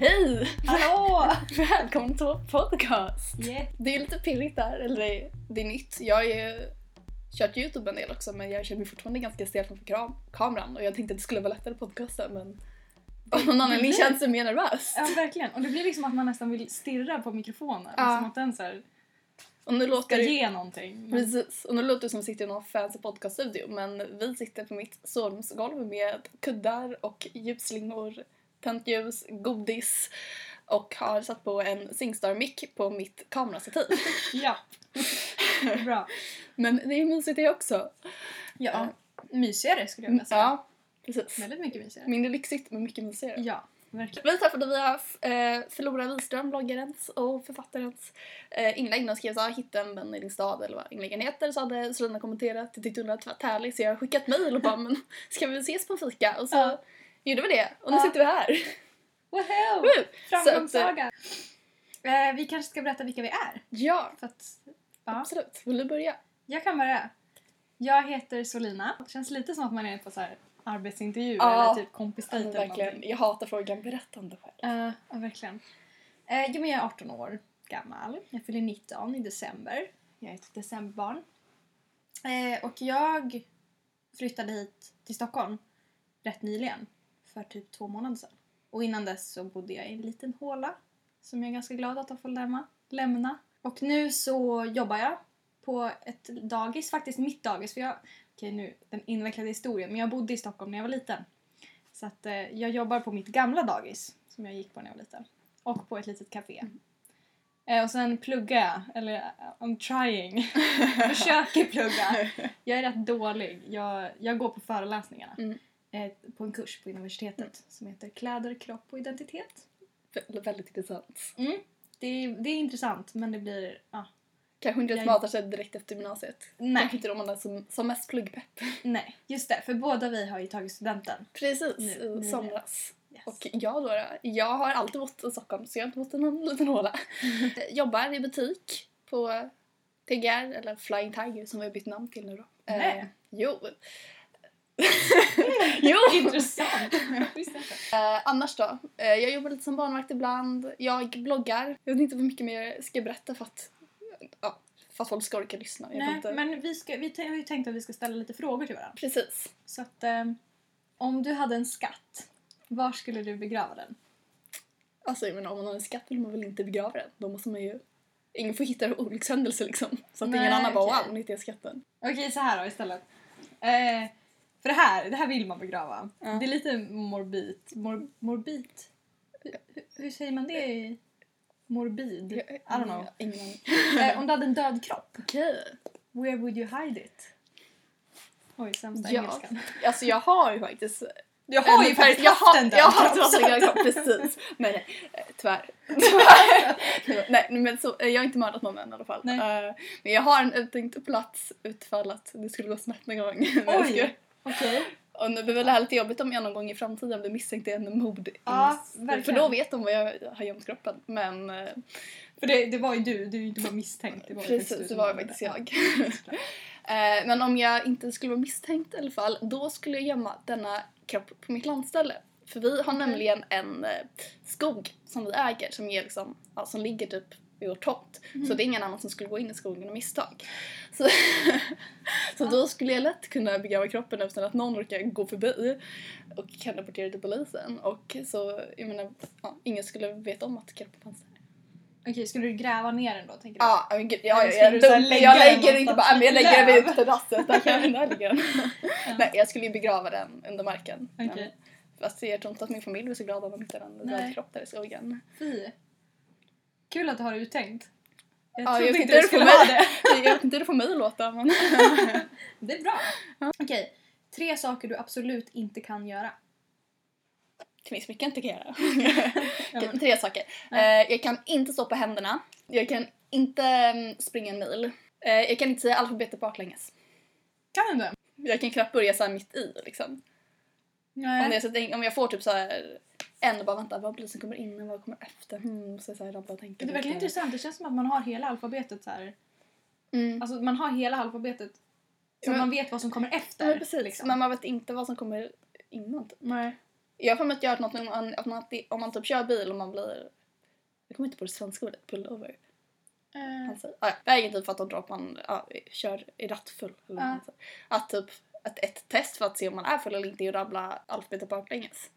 Hej! Hallå! Välkommen till vår podcast! Yeah. Det är lite pirrigt där, eller det är, det är nytt. Jag har ju kört YouTube en del också men jag känner mig fortfarande ganska stel framför kram- kameran och jag tänkte att det skulle vara lättare att podcasta men av någon anledning känns det mer nervöst. Ja, verkligen. Och det blir liksom att man nästan vill stirra på mikrofonen. Ja. Som att den så här Och nu ska låter det, ge någonting. Men- precis, och nu låter det som att vi sitter i någon fancy podcaststudio men vi sitter på mitt sovrumsgolv med kuddar och ljusslingor, tänt ljus, godis och har satt på en Singstar-mick på mitt kamerastativ. Ja. Bra. Men det är ju mysigt det också. Ja. Mm, Eh, Mysigare skulle jag vilja säga. Ja, precis. Väldigt mycket mysigare. Mindre lyxigt men mycket mysigare. Ja, verkligen. Vi tackade via eh, Flora Wiström, bloggarens och författarens eh, inlägg. Hon skrev så här, hitta en vän i din stad eller vad inläggen heter. Så hade Selina kommenterat, jag tyckte hon lät väldigt härlig så jag har skickat mejl och bara men ska vi ses på en fika? Och så Ja. gjorde vi det och nu Ja. sitter vi här. Woho! Woo! Framgångssaga! Eh, vi kanske ska berätta vilka vi är. Ja, För att, ja. absolut. Vill du börja? Jag kan börja. Jag heter Solina. Det känns lite som att man är på så här arbetsintervju Ja. eller typ kompisdejt Men eller någonting. verkligen. Jag hatar frågan berätta om dig själv. Uh, ja, verkligen. Eh, jo, men jag är 18 år gammal. Jag fyller 19 i december. Jag är ett decemberbarn. Eh, och jag flyttade hit till Stockholm rätt nyligen, för typ två månader sedan. Och innan dess så bodde jag i en liten håla som jag är ganska glad att ha fått lämna. lämna. Och nu så jobbar jag på ett dagis, faktiskt mitt dagis. För jag, okej nu, den invecklade historien, men jag bodde i Stockholm när jag var liten. Så att eh, jag jobbar på mitt gamla dagis som jag gick på när jag var liten. Och på ett litet café. Mm. Eh, och sen pluggar jag, eller eh, I'm trying. Försöker plugga. Jag är rätt dålig. Jag, jag går på föreläsningarna. Mm. Eh, på en kurs på universitetet som heter Kläder, kropp och identitet. Vä- Väldigt intressant. Det är, det är intressant men det blir... Ja, Kanske inte Jag- matar sig direkt efter gymnasiet. nej, Kanske inte de man är som, som mest pluggpepp. nej. Just det, för båda vi har ju tagit studenten. Precis, Nu- i nu somras. Yes. Och jag då, då, jag har alltid bott i Stockholm så jag har inte bott i någon liten håla. Eh, Jobbar i butik på TGR, eller Flying Tiger som vi har bytt namn till nu då. Eh, Nej. jo. jo! Intressant! Jag visste inte. Eh, annars då? Eh, jag jobbar lite som barnvakt ibland. Jag bloggar. Jag vet inte hur mycket mer jag ska berätta för att, ja, för att folk ska orka lyssna. Jag vet Nej, inte. men vi, ska, vi t- har ju tänkt att vi ska ställa lite frågor till varandra. Precis. Så att ehm, om du hade en skatt, var skulle du begrava den? Alltså jag menar, om man har en skatt vill man väl inte begrava den? Då måste man ju... Ingen får hitta en olyckshändelse liksom. Så att Nej, ingen annan bara okej. wow, nu hittade jag skatten. Okej, så här då istället. Eh, för det här, det här vill man begrava. Ja. Det är lite morbid. Mor, morbid? Hur, hur- hur säger man det? Eh. i- Morbid? I don't know. Ingen aning. Eh, om du hade en död kropp, Okej. where would you hide it? Oj, sämsta Ja. engelskan. Eh, Alltså jag har ju faktiskt... Jag en- jag har- Jag har faktiskt en död kropp, precis. Men nej, eh, tyvärr. tyvärr. nej, men så, eh, jag har inte mördat någon än i alla fall. Nej. Eh, men jag har en uttänkt plats utfall att det skulle gå snett någon gång. Men jag ska- Oj, okej. Och nu blir det väl lite jobbigt om jag någon gång i framtiden blir misstänkt i en mord. Ja, verkligen. För då vet de var jag har gömt kroppen. Men eh, För det, det var ju du, du är ju inte bara misstänkt. Det var ju precis, faktiskt du det som var ju gjorde faktiskt det. jag. såklart. Eh, men om jag inte skulle vara misstänkt i alla fall, då skulle jag gömma denna kropp på mitt landställe. För vi har nämligen en eh, skog som vi äger som, ger liksom, ja, som ligger typ i vår tomt. Så det är ingen annan som skulle gå in i skogen av misstag. Så, så då skulle jag lätt kunna begrava kroppen utan att någon orkar gå förbi och kan rapportera till polisen. Och så, jag menar, ja, ingen skulle veta om att kroppen fanns där. Okej, skulle du gräva ner den då? Tänker du? Ja, men gud, jag, Eller jag, skulle jag, du så här lägga jag den lägger inte någonstans bara, men jag vid ett lägger den löv? vid terrassen, där kan jag lägga den. Nej, jag skulle ju begrava den under marken. Okej, Men, fast jag tror inte att min familj blir så glad om de hittar en Nej. död kropp där i skogen. fy. Kul att du har uttänkt. Jag Ja, trodde jag inte tittar du på skulle mig. ha det. Jag vet inte hur det får mig att låta men... Det är bra. Okej, tre saker du absolut inte kan göra. Det finns mycket jag inte kan göra. Ja, men- Tre saker. Eh, jag kan inte stå på händerna. Jag kan inte mm, springa en mil. Eh, jag kan inte säga alfabetet baklänges. Kan du det? Jag kan knappt börja såhär mitt i liksom. Om, det Nej. är så att jag, om jag får typ så här en och bara vänta, vad blir det som kommer innan, vad kommer efter? Hmm, så så här, jag bara tänker Mm. Det är verkligen lite. intressant. Det känns som att man har hela alfabetet så här. Mm. Alltså man har hela alfabetet. Så Men- man vet vad som kommer efter. Ja, men precis. liksom. Men man vet inte vad som kommer innan. typ. Nej. Jag har för mig att jag har hört något om man, att man, om man typ kör bil och man blir... Jag kommer inte på det svenska ordet, pullover. Eh, Han säger. Ah, ja. Vägen typ för att de tror att man ja, kör är rattfull. Eller vad Ja. man säger. Att typ att ett test för att se om man är full eller inte är att rabbla alfabetet baklänges.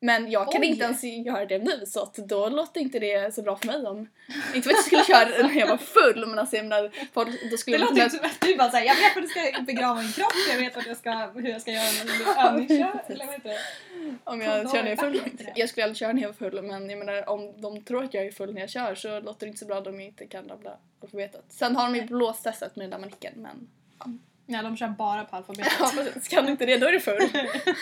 Men jag kan Oj. inte ens göra det nu så att då låter inte det så bra för mig om... Inte för att jag skulle köra när jag var full men alltså jag menar, folk, då skulle det jag låter inte... ju som att du bara såhär, jag vet att jag ska begrava en kropp, jag vet att jag ska, hur jag ska göra när jag blir övningskör, eller vad heter det? Om jag Kondom kör när jag är är full. bättre. Jag skulle aldrig köra när jag var full men jag menar om de tror att jag är full när jag kör så låter det inte så bra om jag inte kan rabbla alfabetet. Sen har de ju blåstestet med den där manicken men... Nej, de kör bara på alfabetet. Ja, precis. kan du inte det då är du full. Okej,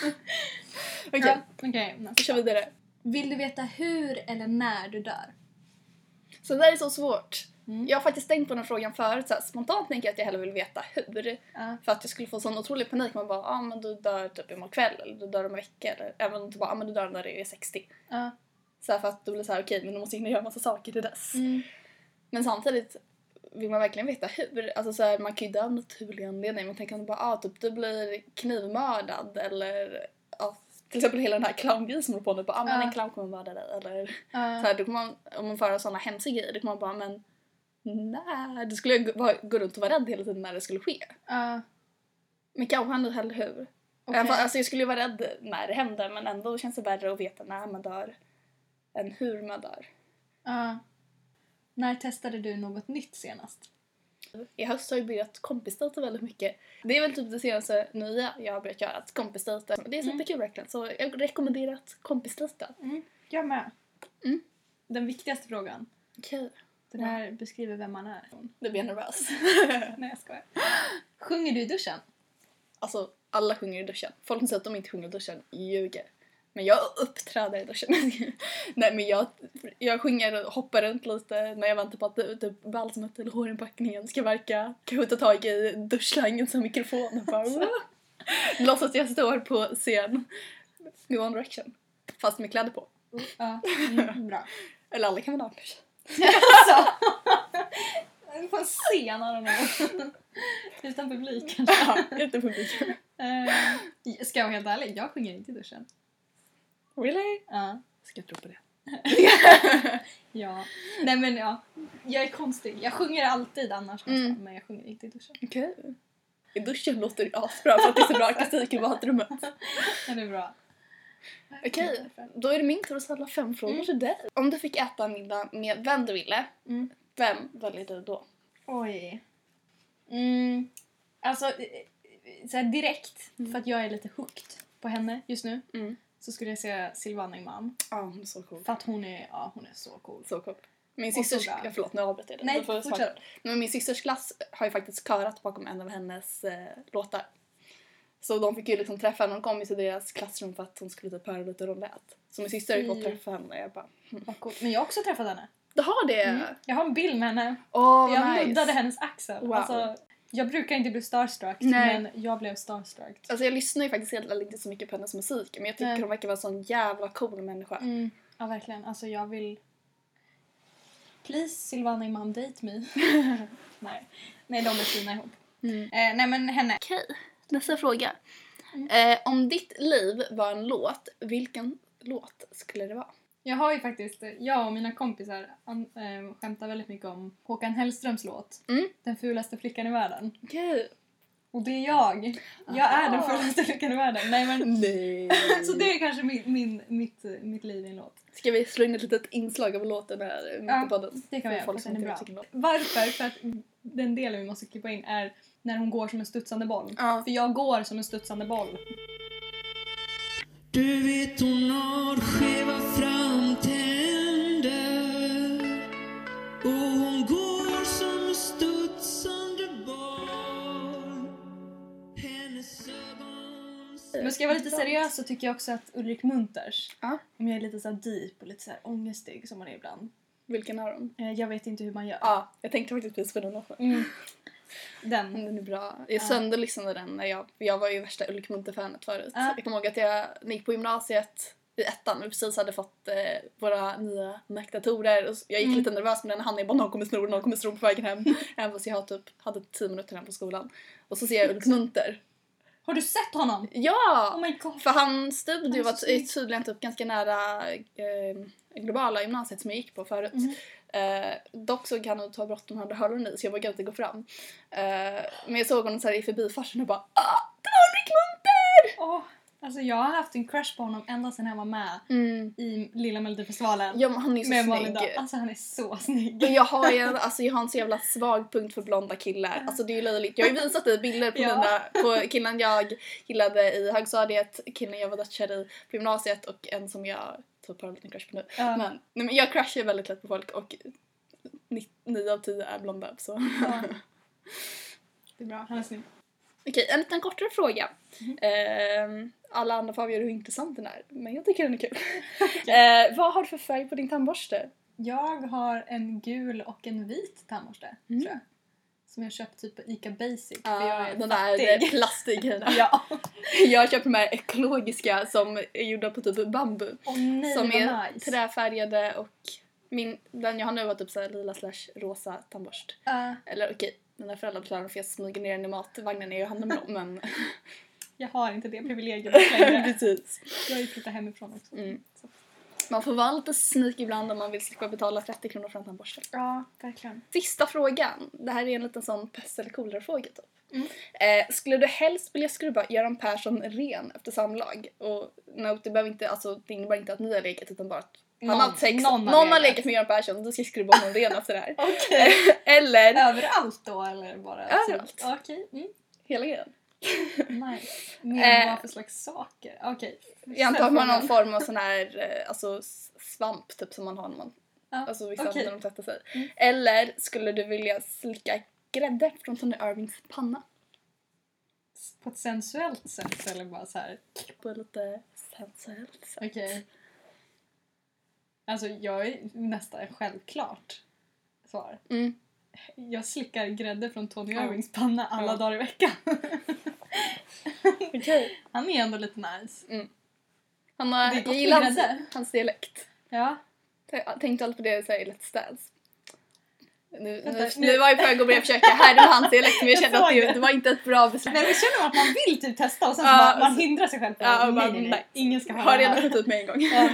Ja, Okej, vi kör vidare. Vill du veta hur eller när du dör? Så det där är så svårt. Mm. Jag har faktiskt tänkt på den frågan förut. Så här, spontant tänker jag att jag hellre vill veta hur. Ja. För att jag skulle få sån otrolig panik. Man bara, ja ah, men du dör typ imorgon kväll eller du dör om en vecka. Eller även om du bara, ah, men du dör när du är 60. Ja. Så här, för att då blir det så här, okej men du måste hinna göra massa saker till dess. Mm. Men samtidigt vill man verkligen veta hur. Alltså så här, man kan ju dö av naturlig anledning. Man tänker bara ah, typ du blir knivmördad eller ja, till exempel hela den här clowngrejen som håller på nu. Bara, ah, men Ja. en clown kommer mörda dig. Eller så Ja. här, då kommer man, om man får höra sådana hemska grejer då kommer man bara men nej. Då skulle jag gå, vara- gå runt och vara rädd hela tiden när det skulle ske. Ja. Men kanske ändå hellre hur. Okej. Även, fa- alltså jag skulle ju vara rädd när det händer men ändå känns det värre att veta när man dör än hur man dör. Ja. När testade du något nytt senast? I höst har jag börjat kompisdejta väldigt mycket. Det är väl typ det senaste nya jag har börjat göra, att kompisdejta. Det är Mm. superkul verkligen, så jag rekommenderar att kompisdejta. Jag med. Mm. Den viktigaste frågan. Okej. Den här beskriver vem man är. Nu blir jag nervös. Nej, jag skojar. Sjunger du i duschen? alltså, alla sjunger i duschen. Folk som säger att de inte sjunger i duschen ljuger. Men jag uppträder i duschen. Nej men jag, jag sjunger och hoppar runt lite när jag väntar på att typ, balsamet eller hårinpackningen ska verka. Kanske ta tag i duschslangen som mikrofon och bara låtsas att jag står på scen med One Direction. Fast med kläder på. Ja. Mm, bra. Eller alla kan väl ha kanske. Alltså. På en scen, I don't know. Utan publik kanske. Ja, inte publik. Eh, Ska jag vara helt ärlig, jag sjunger inte i duschen. Really? Ja. Ska jag tro på det? ja. Nej men ja. Jag är konstig. Jag sjunger alltid annars Mm. nästan, men jag sjunger inte i duschen. Okej. I duschen låter det asbra för att det är så bra akustik i badrummet. Ja, det är bra. Okej. Då är det min tur att ställa fem frågor Mm. till dig. Om du fick äta en middag med vem du ville, Mm. vem väljer du då? Oj. Mm, alltså, eh, eh, så här direkt, Mm. för att jag är lite hooked på henne just nu, Mm. så skulle jag säga Silvana Imam. Ja, hon är så cool. För att hon är, ja, hon är så cool. Så cool. Min Och systers... så bra. Ja, förlåt, nu avbryter jag dig. Nej, Du får svara. fortsätt. Men min systers klass har ju faktiskt körat bakom en av hennes eh, låtar. Så de fick ju liksom träffa henne. Hon kom ju till deras klassrum för att hon skulle typ höra lite hur hon lät. Så min syster har ju fått Mm. träffa henne och jag bara... Vad cool. Men jag har också träffat henne. Du har det? Åh, Mm. Jag har en bild med henne. vad jag nice! nuddade hennes axel. Wow. Alltså, jag brukar inte bli starstruck, Nej. men jag blev starstruck. Alltså jag lyssnar ju faktiskt heller inte så mycket på hennes musik men jag tycker Nej. hon verkar vara en sån jävla cool människa. Mm. Ja, verkligen. Alltså, jag vill... Please, Silvana Imam, date me. nej. nej, de är fina ihop. Mm. Eh, nej, men henne. Okej, nästa fråga. Mm. Eh, om ditt liv var en låt, vilken låt skulle det vara? Jag har ju faktiskt, eh, jag och mina kompisar an, eh, skämtar väldigt mycket om Håkan Hellströms låt Mm. Den fulaste flickan i världen. Okej. Och det är jag! Jag är den fulaste flickan i världen. Nej, men, Nej. så det är kanske min, min, mitt, mitt liv i en låt. Ska vi slå in ett litet inslag av låten här eh, mitt Ja, i podden? Det kan För vi göra, folk för som den är inte bra. vet vilken låt. Varför? För att den delen vi måste klippa in är när hon går som en studsande boll. Ja. För jag går som en studsande boll. Du vet hon har skeva framtänder och hon går som en studsande boll Hennes ögon Men ska jag vara lite seriös så tycker jag också att Ulrik Munters, Ja. om jag är lite så här deep och lite så här ångestig som man är ibland. Vilken är den? Eh, Jag vet inte hur man gör. Ja, jag tänkte faktiskt precis på den också. Mm. Den. Den är bra. Jag sönderlyssnade den när jag, jag var ju värsta Ulrik Munthe-fanet förut. Ja. Jag kommer ihåg att jag, när jag gick på gymnasiet i ettan, vi precis hade fått eh, våra nya Mac-datorer och s- jag gick Mm. lite nervös med den han är bara någon kommer sno någon kommer sno på vägen hem. Även fast jag typ hade 10 minuter hem på skolan. Och så ser jag Ulrik Munther Har du sett honom? Ja! Oh my god. För hans studio Han är var så ty- snygg. tydligen typ ganska nära eh, globala gymnasiet som jag gick på förut. Mhm. Eh, dock såg han ut att ha bråttom, han hade hörlurar i så jag vågade inte gå fram. Eh, men jag såg honom så här i förbifarten och bara ah, det var Henrik Gunther! Åh, alltså jag har haft en crush på honom ända sedan han var med Mm. i Lilla Melodifestivalen. Ja men han är så med Malin Dahl. snygg. Alltså han är så Och snygg. jag har, ju, alltså, jag har en så jävla svag punkt för blonda killar. Alltså det är ju löjligt. Jag har ju visat dig bilder på, Ja. mina, på killen jag gillade i högstadiet, killen jag var dödskär i på gymnasiet och en som jag typ har en liten crush på nu. Ja. Men, nej, men jag crashar ju väldigt lätt på folk och 9 av 10 är blonda. Så. Ja. Det är bra, han är snygg. Okej, en liten kortare fråga. Ehm, alla andra får avgöra hur intressant den är, men jag tycker den är kul. Ehm, vad har du för färg på din tandborste? Jag har en gul och en vit tandborste, Mm. tror jag. Som jag köpt typ på ICA Basic, för jag Uh, är den där eh, fattig. plastgrejen. Ja. jag köper de här ekologiska som är gjorda på typ bambu. Åh nej, som vad är nice. träfärgade och min, den jag har nu var typ såhär lila slash rosa tandborst. Ja, Eller okej, mina föräldrar klarar den för jag smyger ner den i matvagnen när jag handlar med dem men... jag har inte det privilegiet längre. Precis. jag har ju flyttat hemifrån också. Mm. Så. Man får vara lite sneak ibland om man vill slippa betala 30 kronor för en tandborste. Ja, verkligen. Sista frågan. Det här är en liten sån pest eller kolera-fråga typ. Mm. Eh, skulle du helst vilja skrubba Göran Persson ren efter samlag? Och no, det, behöver inte, alltså, det innebär inte att ni har legat utan bara att han Någon- har haft sex. någon har Någon, har legat. legat med Göran Persson, du ska skrubba honom ren efter det här. Okej. Eller Överallt då eller bara? Överallt. typ? Okej. hela grejen. Mm. Nice. Men Eh. vad för slags saker? Okej. Jag antar att man har Snälla någon form av sån här eh, alltså, s- svamp typ som man har när man Ja, alltså, vissa okej. när de tvättar sig. Mm. Eller skulle du vilja slicka grädde från Tony Irvings panna? På ett sensuellt sätt eller bara så här. På ett lite sensuellt sätt. Okej. Alltså jag är nästan självklart svar. Mm. Jag slickar grädde från Tony Ja. Irvings panna alla Ja. dagar i veckan. Okej. Han är ändå lite nice. Han har, Det är gott jag gillar med hans, grädde. hans dialekt. Ja. Jag tänkte alltid på det så här i Let's Dance. Nu, Vänta, nu, nu- nu var jag på väg att börja försöka härma hans dialekt men jag Jag kände att såg det, det. det var inte ett bra beslut. Nej men känner man att man vill typ testa och sen så Ja, bara, man så- hindrar sig själv. På det. Ja, och bara, nej, nej, nej. nej. Ingen ska höra Har det redan här. fått ut mig en gång. Ja.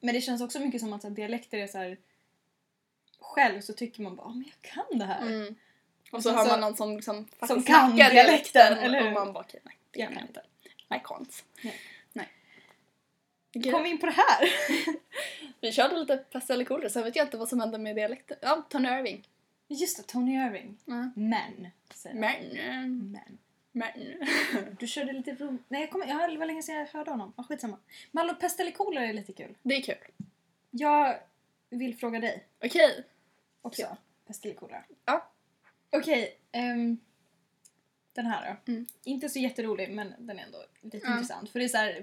Men det känns också mycket som att så här, dialekter är så här. Själv så tycker man bara, "Ah, men jag kan det här. Mm. Och Och så sen har så- man någon som liksom faktiskt kan snackar dialekten, eller hur? och man bara okej nej det Ja. kan jag inte. I can't. Nej. Nej. Kom vi in på det här? Vi körde lite pest eller kolera sen vet jag inte vad som hände med dialekten. Ja, Tony Irving. Just det, Tony Irving. Mm. Men. säger jag. Men, eh, Men. men. Du körde lite rum... Nej, jag kommer... Jag, det var länge sedan jag hörde honom. Ah, skitsamma. Malou, pest eller kolera är lite kul. Det är kul. Jag vill fråga dig Okej. också. Okej. Pest eller kolera. Ja. Okej. ehm, den här då. Mm. Inte så jätterolig, men den är ändå lite Ja. intressant. För det är så här,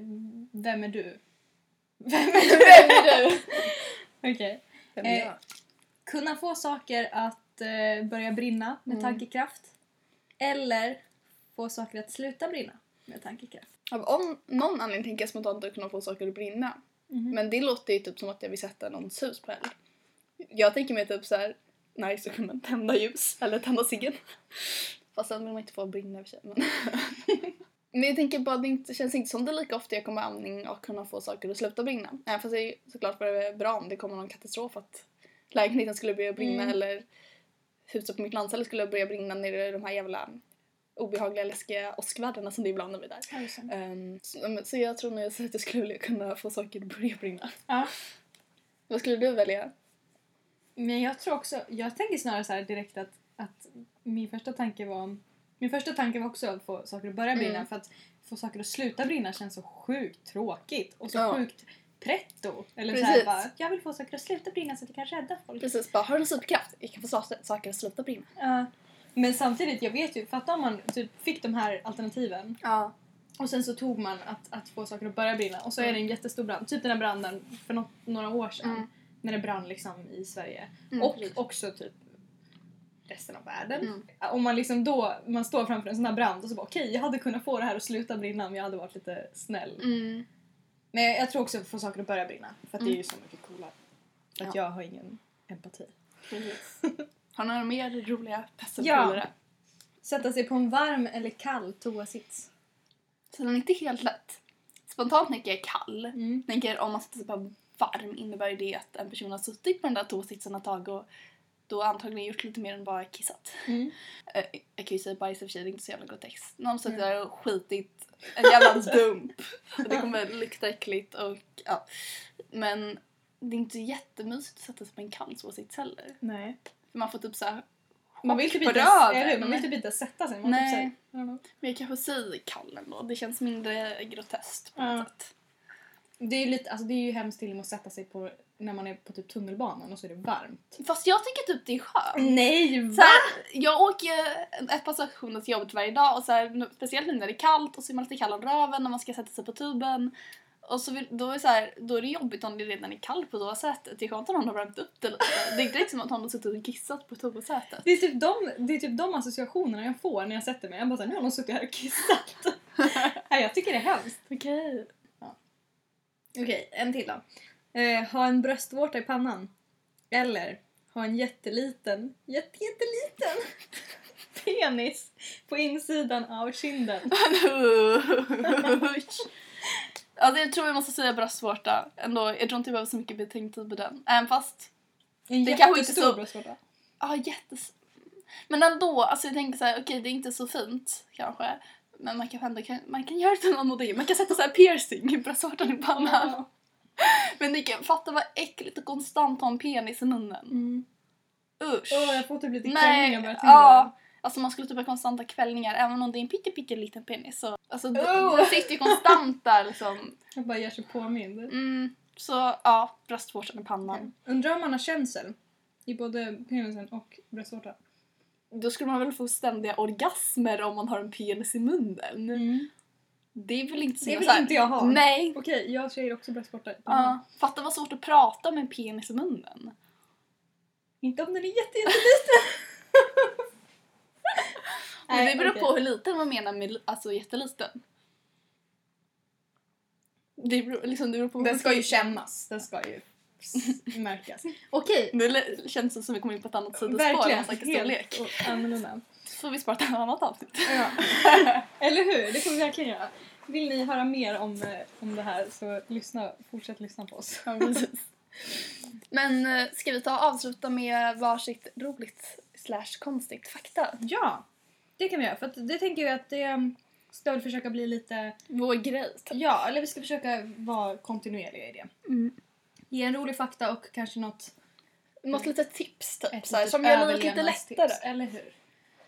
vem är du? Vem är du? Vem är du? Okej. Vem är jag? Kunna få saker att eh, börja brinna med Mm. tankekraft. Eller få saker att sluta brinna med tankekraft. Av om, någon anledning tänker jag spontant att kunna få saker att brinna. Mhm. Men det låter ju typ som att jag vill sätta någons hus på eld. Jag tänker mig typ så här: nice att kunna tända ljus eller tända ciggen. Fast sen vill man inte få brinna över sig. Men, men jag tänker bara, det inte, känns inte som det är lika ofta jag kommer användning att kunna få saker att sluta brinna. Även fast det är ju såklart bara bra om det kommer någon katastrof att lägenheten skulle börja brinna Mm. eller huset på mitt landställe skulle börja brinna när det är de här jävla obehagliga läskiga åskväderna som det ibland är där. Ehm, så, men- så jag tror nog jag säger att jag skulle vilja kunna få saker att börja brinna. Ja. Vad skulle du välja? Men jag tror också, jag tänker snarare så här direkt att, att min första tanke var min första tanke var också att få saker att börja brinna Mm. för att få saker att sluta brinna känns så sjukt tråkigt och så Ja. sjukt pretto. Eller så här Precis. bara, jag vill få saker att sluta brinna så att jag kan rädda folk. Precis, bara har du någon superkraft? Jag kan få sa- saker att sluta brinna. Ja. men samtidigt, jag vet ju, fatta om man typ fick de här alternativen Ja. Och sen så tog man att, att få saker att börja brinna och så är det en jättestor brand. Typ den här branden för nå- några år sedan. Mm. När det brann liksom i Sverige. Mm, och precis. också typ resten av världen. Mm. Om man liksom då, man står framför en sån här brand och så bara okej jag hade kunnat få det här att sluta brinna om jag hade varit lite snäll. Mm. Men jag, jag tror också att få saker att börja brinna. För att det är ju Mm. så mycket coolare. För att Ja. jag har ingen empati. Precis. Har ni några mer roliga pest Ja. eller kolera? Sätta sig på en varm eller kall toasits. Så den är inte helt lätt. Spontant tänker jag kall. Mm. tänker om man sätter sig på varm innebär det att en person har suttit på den där toasitsen ett tag och då antagligen gjort lite mer än bara kissat. Mm. Eh, Jag kan ju säga bajs i och för sig, det är inte så jävla groteskt. Någon har suttit där och skitit en jävla dump. Och det kommer lukta äckligt och ja. Men det är inte jättemysigt att sätta sig på en kall toasits heller. Nej. För man får typ såhär... Man vill typ På inte, röven. eller hur? man vill typ inte sätta sig. Man Nej. Typ så här, I don't know. Men jag kanske säger kall ändå, det känns mindre groteskt på Ja. något sätt. det, är ju lite, alltså, det är ju hemskt till och med att sätta sig på när man är på typ tunnelbanan och så är det varmt. Fast jag tycker typ det är skönt. Nej! Så här, jag åker ju ett par stationer till jobbet varje dag och så här, nu- speciellt nu när det är kallt och så är man lite kall om röven när man ska sätta sig på tuben. Och så vill, då, är det så här, då är det jobbigt om det redan är kallt på toasätet. Det är skönt om någon har värmt upp det lite. Det är inte riktigt som att någon har suttit och kissat på toasätet. Det är, typ de, det är typ de associationerna jag får när jag sätter mig. Jag bara såhär, nu har någon suttit här och kissat. Nej, jag tycker det är hemskt. Okej. Okej, en till då. Eh, ha en bröstvårta i pannan. Eller ha en jätteliten, jätte, jätteliten penis på insidan av kinden. ja, det Alltså, jag tror jag måste säga bröstvårta ändå. Jag tror inte jag behöver så mycket betänketid på den. Även fast En Det kanske inte jättestor så- bröstvårta. Ja, jättes... Men ändå, alltså jag tänker så här, okej det är inte så fint kanske. Men man kan ändå, kan, man kan göra det till någon modell. Man kan sätta så här piercing i bröstvårtan i pannan. Men ni kan fatta vad äckligt och konstant ha en penis i munnen. Mm. Usch. Åh, jag får typ lite krämpningar Nej, bara jag tänker ja. Alltså man skulle typ ha konstanta kvällningar även om det är en pytte pytte liten penis. Så, alltså det, Oh. det sitter ju konstant där liksom. på det. Jag bara gör sig påmind. Mm, så ja, bröstvårtan i pannan. Undrar om man har känsel i både penisen och bröstvårtan. Då skulle man väl få ständiga orgasmer om man har en penis i munnen. Det är väl inte Mm. så Mm. Det jag vill så här- inte jag ha. Nej. Okej, jag säger också bröstvårta. i pannan. Ja. Fatta vad svårt att prata med en penis i munnen. Inte om den är jätte, jätteliten. Men det beror okej. på hur liten man menar med li- alltså jätteliten. Det beror, liksom, det beror på Den ska ju kännas. Den ska ju märkas. Okej. Nu lä- känns det som vi kommer in på ett annat sidospår om snackar Verkligen. storlek. Helt och annorlunda. Så får vi spara till ett annat avsnitt. Ja. Eller hur? Det får vi verkligen göra. Vill ni höra mer om, eh, om det här så lyssna, fortsätt lyssna på oss. Men eh, ska vi ta och avsluta med varsitt roligt slash konstigt fakta? Ja, det kan vi göra. För att det tänker jag att det um, ska väl försöka bli lite... Vår grej. typ. Ja, eller vi ska försöka vara kontinuerliga i det. Mm. Ge en rolig fakta och kanske något... Något litet tips typ, ett så här, litet som gör livet lite överlevnadstips, lättare. Eller hur?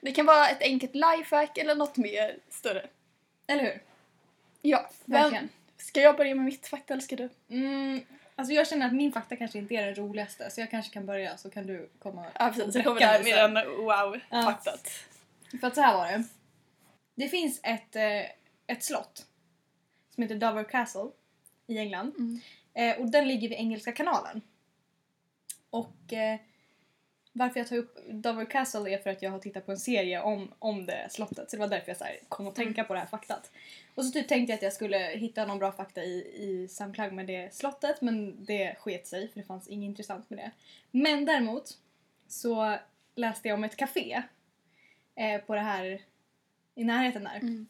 Det kan vara ett enkelt lifehack eller något mer större. Eller hur? Ja, Verkligen. Ska jag börja med mitt fakta eller ska du? Mm, alltså jag känner att min fakta kanske inte är den roligaste så jag kanske kan börja så kan du komma. Ja precis, jag kommer Bräcka där mig med sen. den wow-faktat. För att så här var det. Det finns ett, eh, ett slott som heter Dover Castle i England Mm. eh, och den ligger vid Engelska kanalen. Och eh, varför jag tar upp Dover Castle är för att jag har tittat på en serie om, om det slottet så det var därför jag så här kom att tänka på det här faktat. Och så typ tänkte jag att jag skulle hitta någon bra fakta i, i samklang med det slottet men det sket sig för det fanns inget intressant med det. Men däremot så läste jag om ett café eh, på det här i närheten där. Mm.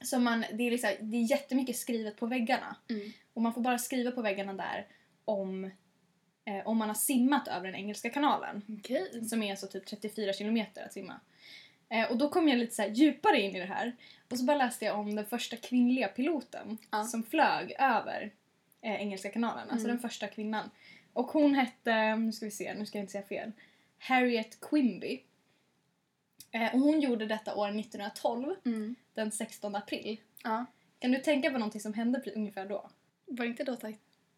Så man, det, är liksom, det är jättemycket skrivet på väggarna Mm. och man får bara skriva på väggarna där om, eh, om man har simmat över den engelska kanalen Okej. som är så typ 34 kilometer att simma. Eh, och då kom jag lite så här djupare in i det här och så bara läste jag om den första kvinnliga piloten Ja. som flög över eh, Engelska kanalen, alltså Mm. den första kvinnan. Och hon hette, nu ska vi se, nu ska jag inte säga fel, Harriet Quimby. Eh, och hon gjorde detta år 1912, Mm. den 16 april. Ja. Kan du tänka på någonting som hände pre- ungefär då? Var det inte då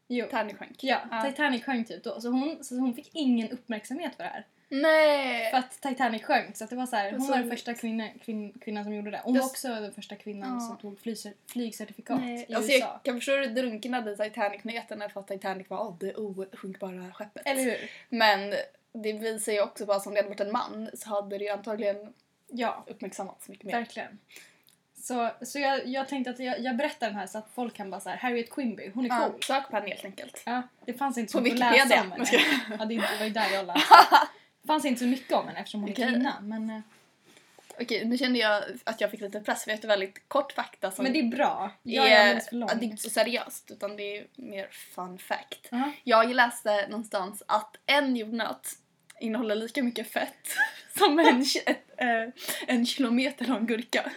Jo. Titanic sjönk? Ja, Ja. Titanic sjönk typ då. Så hon, så hon fick ingen uppmärksamhet för det här. Nej! För att Titanic sjönk så att det var så här, hon Så- var den första kvinna, kvinn, kvinnan som gjorde det. Hon Jag var s- också den första kvinnan Ja. som tog flyg, flygcertifikat Nej. i Alltså USA. jag kan förstå hur drunknade Titanic-nyheterna för att Titanic var oh, det osjunkbara skeppet. Eller hur? Men det visar ju också bara som det hade varit en man så hade det ju antagligen Ja, uppmärksammats mycket mer. verkligen. Så, så jag, jag tänkte att jag, jag berättar den här så att folk kan bara så här, Harriet Quimby, hon är Ja, cool. sök på henne helt enkelt. Ja, det fanns inte så På mycket att läsa Wikipedia. om Men henne. ska- Ja, det, det var ju där jag läste. Det fanns inte så mycket om henne eftersom hon är Okej. kvinna. Men eh, Okej, nu kände jag att jag fick lite press för jag har ett väldigt kort fakta som Men det är bra. Jag är är, alldeles för lång. ja, det är inte så seriöst utan det är mer fun fact. Ja. Jag läste någonstans att en jordnöt innehåller lika mycket fett som en, ki- ett, eh, en kilometer av en gurka.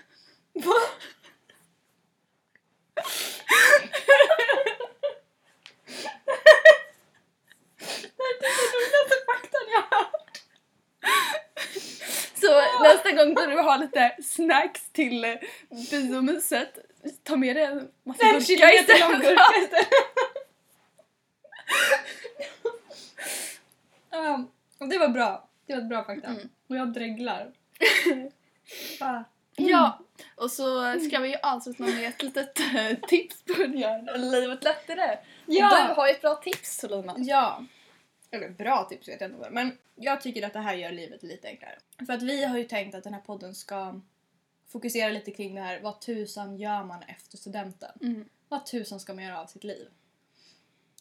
Så nästa gång när du har lite snacks till eh, biomyset, ta med dig en massa En gurka kilometer istället. lång gurka Ja, och det var bra. Det var ett bra fakta. Mm. Och jag dreglar. Bara, Ja, och så ska vi ju avsluta med ett litet eh, tips på hur gör livet lättare. Du ja! har ju ett bra tips Solina. ja. Eller bra tips vet jag inte. vad det är, Men jag tycker att det här gör livet lite enklare. För att vi har ju tänkt att den här podden ska fokusera lite kring det här. Vad tusan gör man efter studenten? Mm. Vad tusan ska man göra av sitt liv?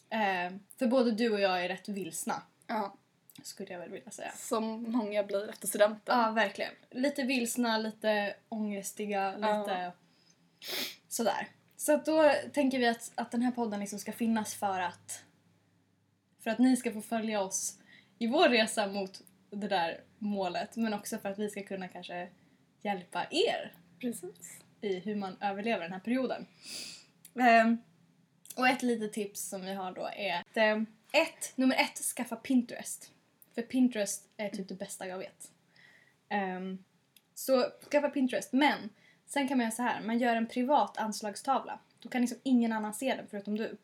Eh, för både du och jag är rätt vilsna. Ja, Skulle jag väl vilja säga. som många blir efter studenten. Ja, verkligen. Lite vilsna, lite ångestiga, Ja. lite sådär. Så att då tänker vi att, att den här podden liksom ska finnas för att för att ni ska få följa oss i vår resa mot det där målet men också för att vi ska kunna kanske hjälpa er Precis. i hur man överlever den här perioden. Ehm, och ett litet tips som vi har då är att ehm, ett, nummer ett, skaffa Pinterest. För Pinterest är typ det bästa jag vet. Ehm, så skaffa Pinterest, men sen kan man göra så här, man gör en privat anslagstavla. Då kan liksom ingen annan se den förutom du.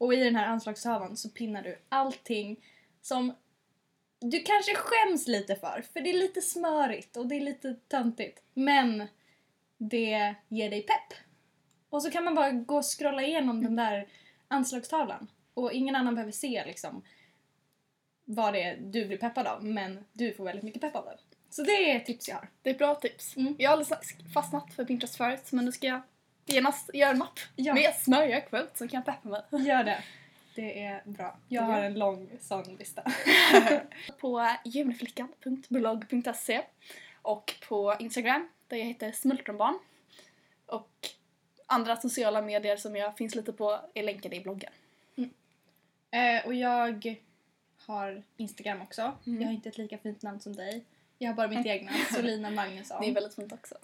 Och i den här anslagstavlan så pinnar du allting som du kanske skäms lite för, för det är lite smörigt och det är lite töntigt. Men det ger dig pepp. Och så kan man bara gå och scrolla igenom den där anslagstavlan. Och ingen annan behöver se liksom vad det är du blir peppad av, men du får väldigt mycket pepp av det. Så det är ett tips jag har. Det är ett bra tips. Mm. Jag har alldeles fastnat för Pinterest förut men nu ska jag genast göra en mapp Ja. med smörja kvällt som kan peppa mig. Gör det. Det är bra. Jag har Ja. en lång sån lista. På juniflickan.blogg.se och på Instagram där jag heter smultronbarn. Och andra sociala medier som jag finns lite på är länkade i bloggen. Eh, och jag har Instagram också. Mm. Jag har inte ett lika fint namn som dig. Jag har bara mitt egna, Solina Magnusson. Det är väldigt fint också.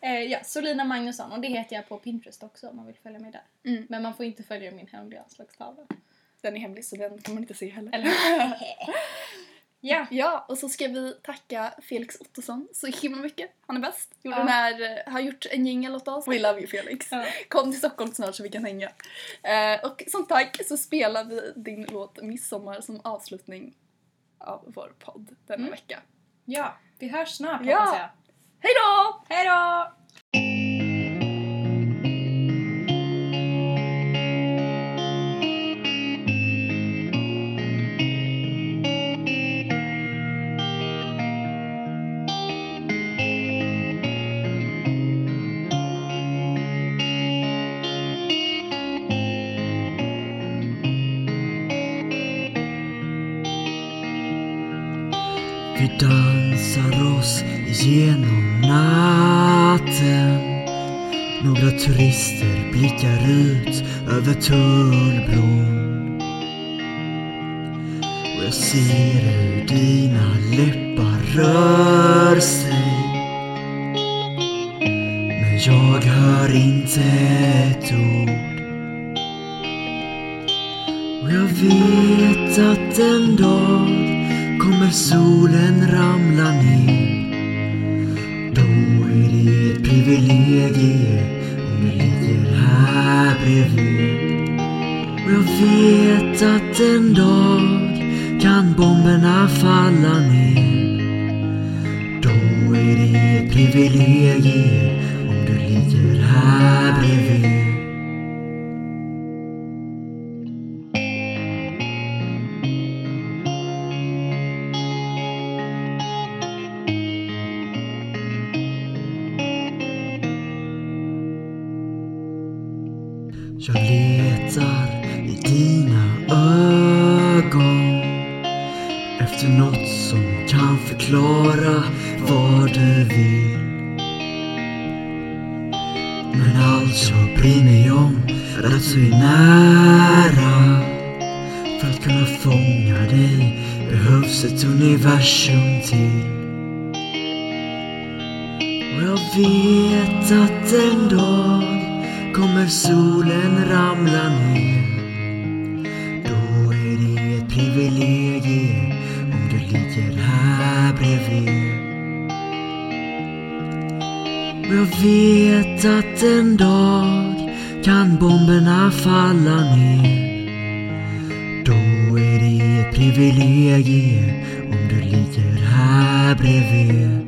Eh, ja, Solina Magnusson och det heter jag på Pinterest också om man vill följa mig där. Mm. Men man får inte följa min hemliga anslagstavla. Den är hemlig så den kan man inte se heller. Eller Ja. Ja, och så ska vi tacka Felix Ottosson så himla mycket. Han är bäst. Gjorde Ja. den här, eh, har gjort en jingel åt oss. We love you Felix. Ja. Kom till Stockholm snart så vi kan hänga. Eh, och som tack så spelar vi din låt Midsommar som avslutning av vår podd denna Mm. vecka. ja, vi hörs snart Ja. hoppas jag. Hej då! Hej då! Vi dansar oss genom natten Några turister blickar ut över tullbron Och jag ser hur dina läppar rör sig Men jag hör inte ett ord och jag vet att en dag kommer solen ramla ner. Då är det ett privilegie om du ligger här bredvid. Och jag vet att en dag kan bomberna falla ner. Då är det ett privilegie om du ligger här bredvid. Jag letar i dina ögon efter något som kan förklara vad du vill. Men allt jag bryr mig om är att så är nära. För att kunna fånga dig behövs ett universum till. Och jag vet att en dag kommer solen ramla ner. Då är det ett privilegium om du ligger här bredvid. Och jag vet att en dag kan bomberna falla ner. Då är det ett privilegium om du ligger här bredvid.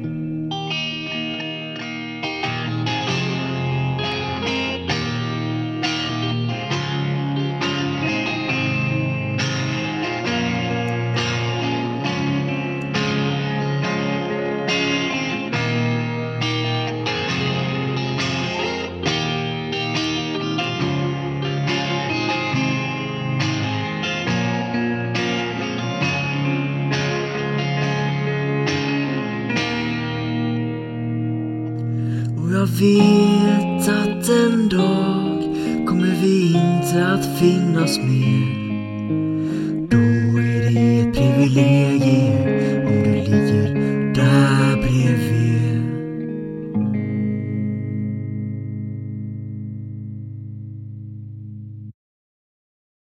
Och jag vet att en dag kommer vi inte att finnas mer. Då är det ett privilegium